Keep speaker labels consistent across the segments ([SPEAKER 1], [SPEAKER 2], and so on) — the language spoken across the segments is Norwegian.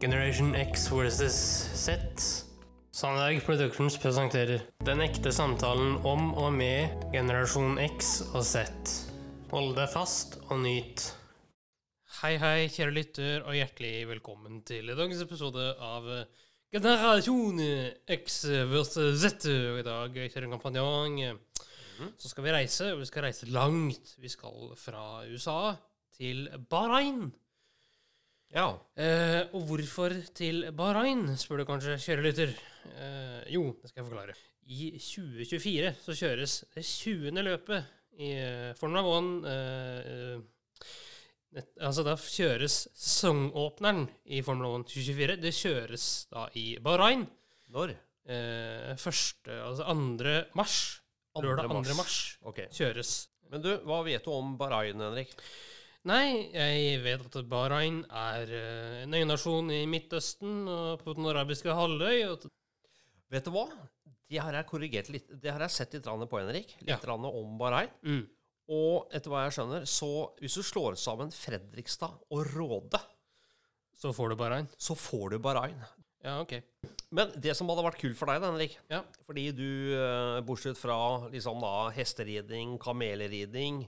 [SPEAKER 1] Generation X versus Z. Sandberg Productions presenterer Den ekte samtalen om og med generasjon X og Z. Hold deg fast og nyt. Hei, hei, kjære lytter, og hjertelig velkommen til dagens episode av eh, Generasjon X versus Z. Og I dag, kjære kompanjong, eh, så skal vi reise, og vi skal reise langt. Vi skal fra USA til Bahrain.
[SPEAKER 2] Ja.
[SPEAKER 1] Eh, og hvorfor til Bahrain, spør du kanskje, kjære lytter. Eh, jo, det skal jeg forklare. I 2024 så kjøres det 20. løpet i eh, Formula 1. Eh, eh, nett- altså, da kjøres sesongåpneren i Formula 1 2024. Det kjøres da i Bahrain.
[SPEAKER 2] Når?
[SPEAKER 1] Eh, første, altså 2. mars. Lørdag 2. mars
[SPEAKER 2] Ok.
[SPEAKER 1] kjøres
[SPEAKER 2] Men du, hva vet du om Bahrain, Henrik?
[SPEAKER 1] Nei, jeg vet at Bahrain er eh, en øynasjon i Midtøsten og på den arabiske halvøy. Og at-
[SPEAKER 2] Vet du hva? Det har jeg korrigert litt. Det har jeg sett litt grann på, Henrik. Litt
[SPEAKER 1] Ja.
[SPEAKER 2] grann om Bahrain. Og etter hva jeg skjønner, så hvis du slår sammen Fredrikstad og Råde,
[SPEAKER 1] Så får du Bahrain.
[SPEAKER 2] så får du Bahrain.
[SPEAKER 1] Ja, ok.
[SPEAKER 2] Men det som hadde vært kult for deg, da, Henrik
[SPEAKER 1] Ja.
[SPEAKER 2] Fordi du, eh, bortsett fra liksom da hesteridning, kamelridning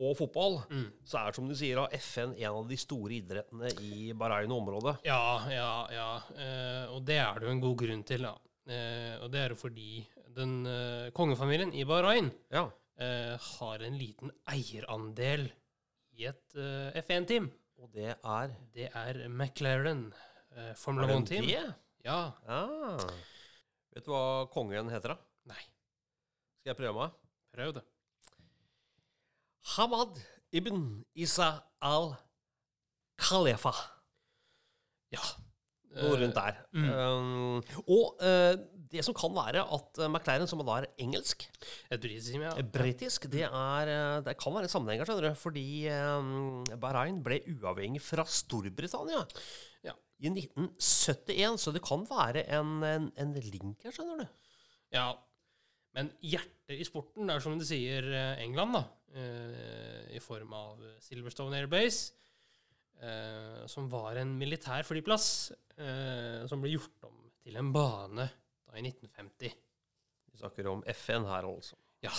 [SPEAKER 2] og fotball, så er som du sier, da, FN en av de store idrettene i Bahrain-området.
[SPEAKER 1] Ja, ja, ja. Eh, og det er det jo en god grunn til, da. Eh, og det er jo fordi den eh, kongefamilien i Bahrain
[SPEAKER 2] Ja.
[SPEAKER 1] eh, har en liten eierandel i et eh, F1-team.
[SPEAKER 2] Og det er
[SPEAKER 1] Det er McLaren eh,
[SPEAKER 2] Er
[SPEAKER 1] Formula
[SPEAKER 2] det
[SPEAKER 1] 1-team.
[SPEAKER 2] det?
[SPEAKER 1] Ja.
[SPEAKER 2] Ah. Vet du hva kongen heter, da?
[SPEAKER 1] Nei,
[SPEAKER 2] Skal jeg prøve meg?
[SPEAKER 1] prøv det.
[SPEAKER 2] Hamad ibn Isa al Khalifa.
[SPEAKER 1] Ja.
[SPEAKER 2] Noe rundt der. Um, og eh, det som kan være at eh, McLaren, som da er engelsk,
[SPEAKER 1] Et britisk team, ja.
[SPEAKER 2] eh, britisk, det, er, eh, det kan være sammenhenger, skjønner du. Fordi eh, Bahrain ble uavhengig fra Storbritannia
[SPEAKER 1] Ja.
[SPEAKER 2] i 1971. Så det kan være en, en, en link her, skjønner du.
[SPEAKER 1] Ja. Men hjertet i sporten er som du sier eh, England, da. eh, I form av Silverstone Air Base, eh, som var en militær flyplass eh, som ble gjort om til en bane da i 1950.
[SPEAKER 2] Vi snakker om FN her, altså.
[SPEAKER 1] Ja.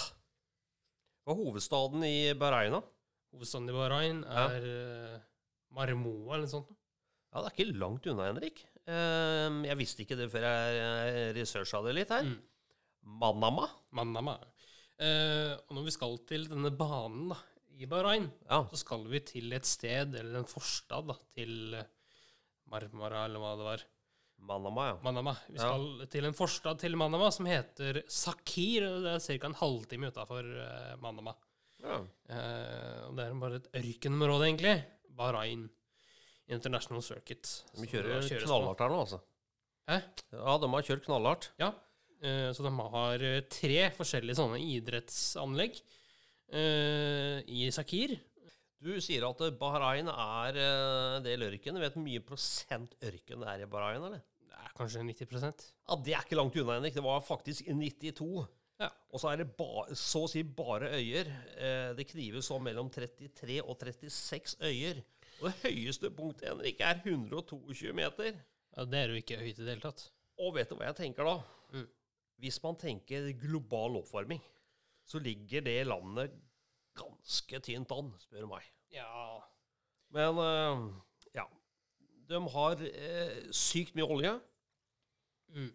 [SPEAKER 2] Hva er hovedstaden i Bahrain, da?
[SPEAKER 1] Hovedstaden i Bahrain
[SPEAKER 2] Ja.
[SPEAKER 1] er eh, Marmoa eller noe sånt.
[SPEAKER 2] Ja, det er ikke langt unna, Henrik. Ehm, jeg visste ikke det før jeg researcha det litt her.
[SPEAKER 1] Mm.
[SPEAKER 2] Manama.
[SPEAKER 1] Manama. Eh, og når vi skal til denne banen da, i Bahrain,
[SPEAKER 2] Ja.
[SPEAKER 1] så skal vi til et sted, eller en forstad, da, til eh, Marmara, eller hva det var.
[SPEAKER 2] Manama, ja.
[SPEAKER 1] Manama. Vi skal til en forstad til Manama som heter Sakir. og Det er ca. en halvtime utafor eh, Manama.
[SPEAKER 2] ja.
[SPEAKER 1] Eh, og det er bare et ørkenområde, egentlig. Bahrain International Circuit.
[SPEAKER 2] De
[SPEAKER 1] Så
[SPEAKER 2] kjører
[SPEAKER 1] det kjøres på.
[SPEAKER 2] knallhardt her nå, altså.
[SPEAKER 1] Hæ?
[SPEAKER 2] Ja, de har kjørt knallhardt.
[SPEAKER 1] Ja. Eh, så de har eh, tre forskjellige sånne idrettsanlegg eh, i Sakir.
[SPEAKER 2] Du sier at eh, Bahrain er eh, del ørken. Vet du hvor mye prosent ørken det er i Bahrain, eller?
[SPEAKER 1] Det er kanskje 90
[SPEAKER 2] Ja, Det er ikke langt unna, Henrik. Det var faktisk 92.
[SPEAKER 1] Ja.
[SPEAKER 2] Og så er det ba, så å si bare øyer. Eh, Det knives om mellom 33 og 36 øyer. Og det høyeste punktet, Henrik, er 122 meter.
[SPEAKER 1] Ja, det er jo ikke høyt i det hele tatt.
[SPEAKER 2] Og vet du hva jeg tenker da?
[SPEAKER 1] Mm.
[SPEAKER 2] Hvis man tenker global oppvarming, så ligger det landet ganske tynt an, spør du meg.
[SPEAKER 1] Ja.
[SPEAKER 2] Men eh, ja. De har eh, sykt mye olje.
[SPEAKER 1] Mm.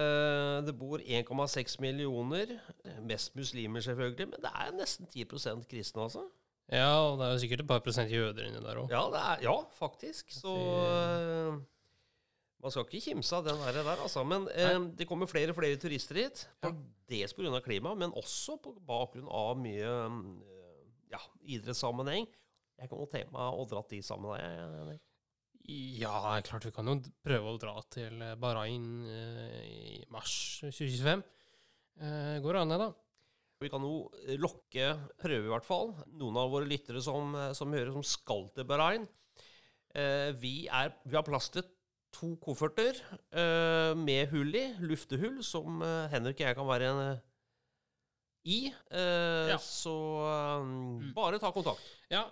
[SPEAKER 2] Eh, det bor 1,6 millioner. eh, Mest muslimer, selvfølgelig, men det er nesten 10 kristne, altså.
[SPEAKER 1] ja, og det er jo sikkert et par prosent jøder inni der òg.
[SPEAKER 2] Ja, det er, ja faktisk. Så eh, man skal ikke kimse av den der, der altså. Men eh, det kommer flere og flere turister hit.
[SPEAKER 1] Ja.
[SPEAKER 2] På, dels pga. klimaet, men også på bakgrunn av mye eh, ja, idrettssammenheng. Jeg kan godt tenke meg å dra dit sammen med deg. Henrik.
[SPEAKER 1] Ja, klart vi kan jo prøve å dra til eh, Bahrain eh, i mars 2025. Eh, går an, det, da.
[SPEAKER 2] Vi kan jo eh, lokke, prøve i hvert fall, noen av våre lyttere som, eh, som hører som skal til Bahrain. Eh, vi, er, vi har plass til to kofferter eh, med hull i, luftehull, som eh, Henrik og jeg kan være en, eh, i. Eh,
[SPEAKER 1] Ja.
[SPEAKER 2] Så eh, bare ta kontakt.
[SPEAKER 1] Ja.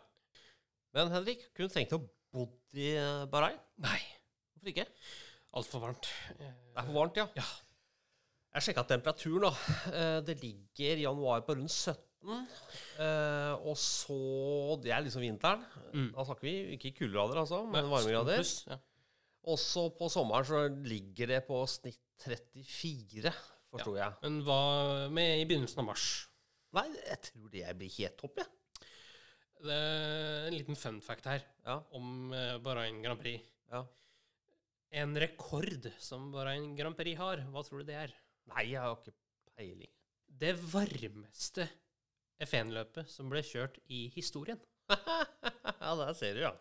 [SPEAKER 2] Men Henrik, kunne du tenkt deg å bo i eh, Bahrain?
[SPEAKER 1] Nei.
[SPEAKER 2] Hvorfor ikke?
[SPEAKER 1] Altfor varmt.
[SPEAKER 2] Det er for varmt, ja. Jeg sjekka temperaturen, da. Eh, Det ligger i januar på rundt 17. eh, Og så Det er liksom vinteren.
[SPEAKER 1] Mm.
[SPEAKER 2] Da snakker vi ikke kuldegrader, altså, men varmegrader.
[SPEAKER 1] Pluss, ja.
[SPEAKER 2] Også på sommeren så ligger det på snitt 34, forsto jeg.
[SPEAKER 1] Men hva med i begynnelsen av mars?
[SPEAKER 2] Nei, jeg tror det blir helt topp, jeg.
[SPEAKER 1] Det er en liten fun fact her
[SPEAKER 2] Ja.
[SPEAKER 1] om eh, Bahrain Grand Prix.
[SPEAKER 2] Ja.
[SPEAKER 1] En rekord som Bahrain Grand Prix har, hva tror du det er?
[SPEAKER 2] Nei, jeg har ikke peiling.
[SPEAKER 1] Det varmeste F1-løpet som ble kjørt i historien.
[SPEAKER 2] ja, der ser du, ja.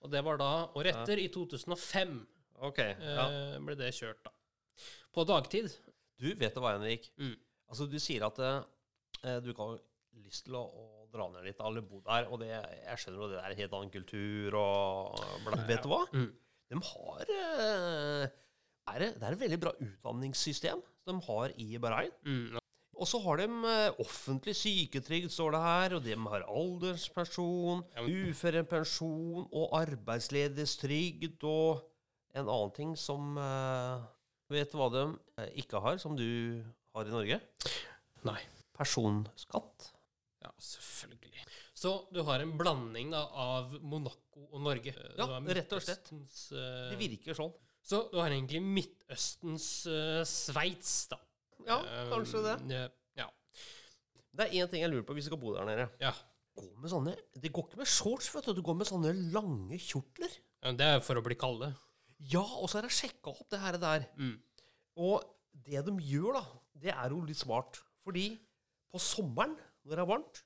[SPEAKER 1] Og det var da året etter, i 2005,
[SPEAKER 2] Ok. Ja.
[SPEAKER 1] eh, ble det kjørt, da. På dagtid.
[SPEAKER 2] Du vet du hva, Henrik.
[SPEAKER 1] Mm.
[SPEAKER 2] Altså, du sier at eh, du ikke har lyst til å, å dra ned litt eller bo der, og det, jeg skjønner jo det er en helt annen kultur og bla, Vet du hva?
[SPEAKER 1] Mm.
[SPEAKER 2] De har eh, er det, det er et veldig bra utdanningssystem de har i Bahrain.
[SPEAKER 1] Mm.
[SPEAKER 2] Og så har de eh, offentlig syketrygd, står det her, og de har alderspensjon,
[SPEAKER 1] Ja, men-
[SPEAKER 2] uførepensjon og arbeidsledighetstrygd og en annen ting som eh, Vet du hva de eh, ikke har, som du har i Norge?
[SPEAKER 1] Nei.
[SPEAKER 2] Personskatt.
[SPEAKER 1] Ja, selvfølgelig. Så du har en blanding da, av Monaco og Norge.
[SPEAKER 2] Ja,
[SPEAKER 1] Du har
[SPEAKER 2] rett og slett.
[SPEAKER 1] Midtøstens, eh,
[SPEAKER 2] Det virker sånn.
[SPEAKER 1] Så du har egentlig Midtøstens uh, Sveits, da.
[SPEAKER 2] Ja,
[SPEAKER 1] Eh,
[SPEAKER 2] kanskje det.
[SPEAKER 1] Ja.
[SPEAKER 2] Det er én ting jeg lurer på hvis du skal bo der nede.
[SPEAKER 1] ja.
[SPEAKER 2] Gå med sånne, det går ikke med shorts, vet du. Du går med sånne lange kjortler.
[SPEAKER 1] Ja, Det er for å bli kalde.
[SPEAKER 2] Ja, og så har jeg sjekka opp det her og der.
[SPEAKER 1] Mm.
[SPEAKER 2] Og det de gjør, da, det er jo litt smart. Fordi på sommeren, når det er varmt,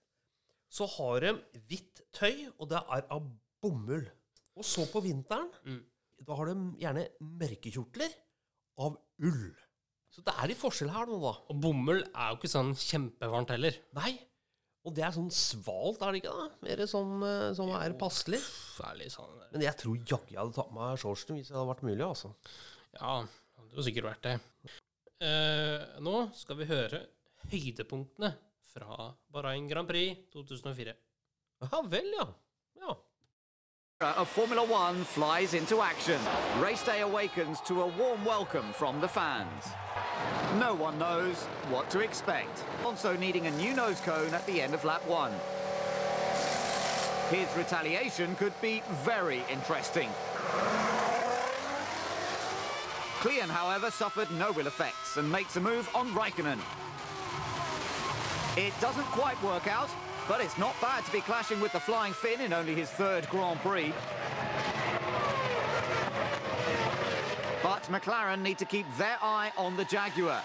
[SPEAKER 2] så har de hvitt tøy, og det er av bomull. Og så på vinteren,
[SPEAKER 1] Mm.
[SPEAKER 2] da har de gjerne mørkekjortler av ull. Så det er litt forskjell her nå, da.
[SPEAKER 1] Og bomull er jo ikke sånn kjempevarmt heller.
[SPEAKER 2] Nei. Og det er sånn svalt, er det ikke? da? Mer sånn eh, som er passelig.
[SPEAKER 1] Pff, det er litt sånn
[SPEAKER 2] Men jeg tror jaggu jeg hadde tatt på meg shortsen hvis det hadde vært mulig, altså.
[SPEAKER 1] Ja, det hadde jo sikkert vært det. Eh, nå skal vi høre høydepunktene fra Bahrain Grand Prix 2004.
[SPEAKER 2] Ja vel, ja. ja.
[SPEAKER 3] of Formula One flies into action. Race day awakens to a warm welcome from the fans. No one knows what to expect. Alonso needing a new nose cone at the end of lap one. His retaliation could be very interesting. Cleon, however, suffered no real effects and makes a move on Raikkonen. It doesn't quite work out, but it's not bad to be clashing with the Flying Finn in only his third Grand Prix. But McLaren need to keep their eye on the Jaguar.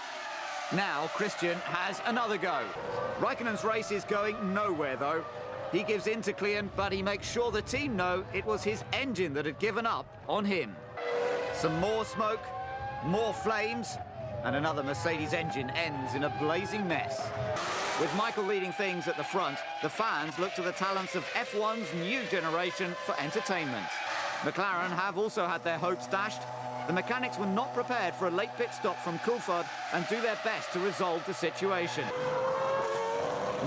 [SPEAKER 3] Now Christian has another go. Raikkonen's race is going nowhere though. He gives in to Cleon, but he makes sure the team know it was his engine that had given up on him. Some more smoke, more flames, and another Mercedes engine ends in a blazing mess. With Michael leading things at the front, the fans look to the talents of F1's new generation for entertainment. McLaren have also had their hopes dashed. The mechanics were not prepared for a late pit stop from Coulthard and do their best to resolve the situation.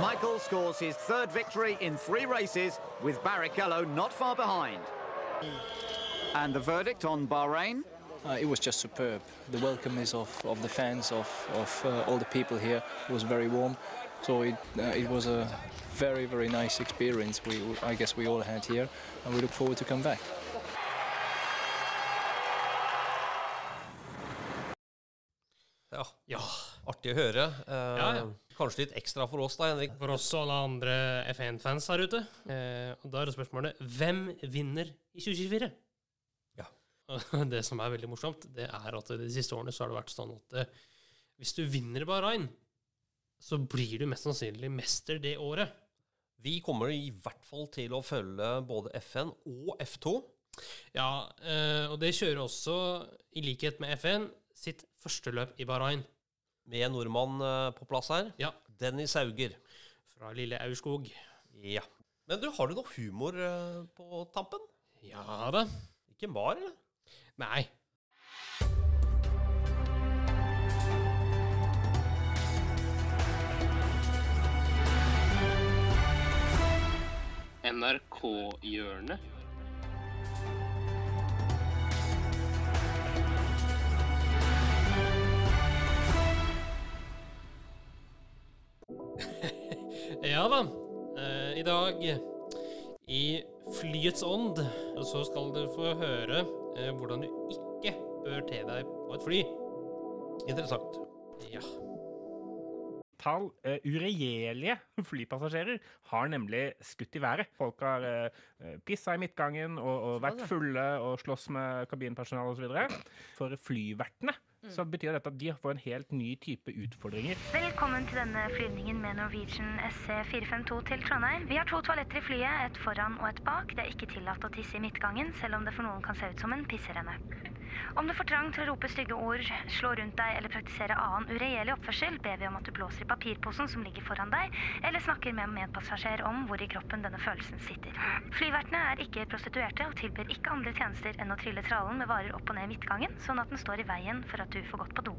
[SPEAKER 3] Michael scores his third victory in three races, with Barrichello not far behind. And the verdict on Bahrain?
[SPEAKER 4] Uh, it was just superb. The welcome is of, of the fans, of, of uh, all the people here was very warm. So it, uh, it was a very, very nice experience we, I guess we all had here. And we look forward to come back.
[SPEAKER 2] ja.
[SPEAKER 1] Ja.
[SPEAKER 2] Artig å høre. Eh,
[SPEAKER 1] Ja, ja.
[SPEAKER 2] Kanskje litt ekstra for oss da, Henrik.
[SPEAKER 1] For oss og alle andre F1-fans her ute. Eh, og da er spørsmålet hvem vinner i 2024?
[SPEAKER 2] Ja.
[SPEAKER 1] Og Det som er veldig morsomt, det er at de siste årene så har det vært sånn at eh, hvis du vinner Bahrain, så blir du mest sannsynlig mester det året.
[SPEAKER 2] Vi kommer i hvert fall til å følge både FN og F2.
[SPEAKER 1] Ja, eh, og det kjører også, i likhet med F1, sitt første løp i Bahrain.
[SPEAKER 2] Med en nordmann eh, på plass her.
[SPEAKER 1] Ja,
[SPEAKER 2] Dennis Hauger.
[SPEAKER 1] fra lille Aurskog.
[SPEAKER 2] Ja. Men du, har du noe humor eh, på tampen?
[SPEAKER 1] Ja da.
[SPEAKER 2] Ikke mar, eller?
[SPEAKER 1] Nei. NRK-hjørnet. Ja da. Eh, I dag, i flyets ånd, så skal dere få høre eh, hvordan du ikke bør te deg på et fly.
[SPEAKER 2] Interessant.
[SPEAKER 1] Ja.
[SPEAKER 5] tall eh, uregjerlige flypassasjerer har nemlig skutt i været. Folk har uh, pissa i midtgangen og, og vært fulle og slåss med kabinpersonale osv. For flyvertene så betyr dette at de får en helt ny type utfordringer.
[SPEAKER 6] Velkommen til denne flyvningen med Norwegian SC452 til Trondheim. Vi har to toaletter i flyet, et foran og et bak. Det er ikke tillatt å tisse i midtgangen, selv om det for noen kan se ut som en pisserenne. Om du får trang til å rope stygge ord, slå rundt deg eller praktisere annen uregjerlig oppførsel, ber vi om at du blåser i papirposen som ligger foran deg, eller snakker med en medpassasjer om hvor i kroppen denne følelsen sitter. Flyvertene er ikke prostituerte og tilbyr ikke andre tjenester enn å trille trallen med varer opp og ned i midtgangen, sånn at den står i veien for at du får gått på do.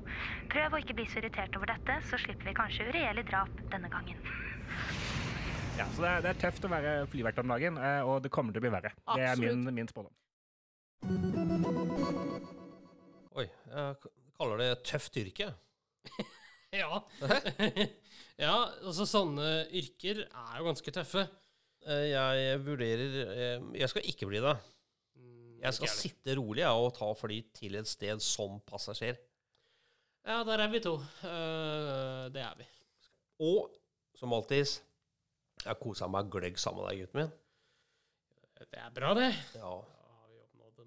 [SPEAKER 6] Prøv å ikke bli så irritert over dette, så slipper vi kanskje uregjerlig drap denne gangen.
[SPEAKER 5] Ja, så det er, det er tøft å være flyvert om dagen, eh, og det kommer til å bli verre. Det er min, min spådom.
[SPEAKER 2] Oi. Jeg k- kaller det tøft yrke.
[SPEAKER 1] Ja. ja, altså sånne yrker er jo ganske tøffe.
[SPEAKER 2] Eh, Jeg vurderer eh, Jeg skal ikke bli det. Mm, Jeg skal sitte rolig jeg, og ta fly til et sted som passasjer.
[SPEAKER 1] Ja, der er vi to. Eh, det er vi.
[SPEAKER 2] Og som alltid Jeg kosa meg gløgg sammen med deg, gutten min.
[SPEAKER 1] Det er bra, det.
[SPEAKER 2] Ja.
[SPEAKER 1] Da har vi oppnådd et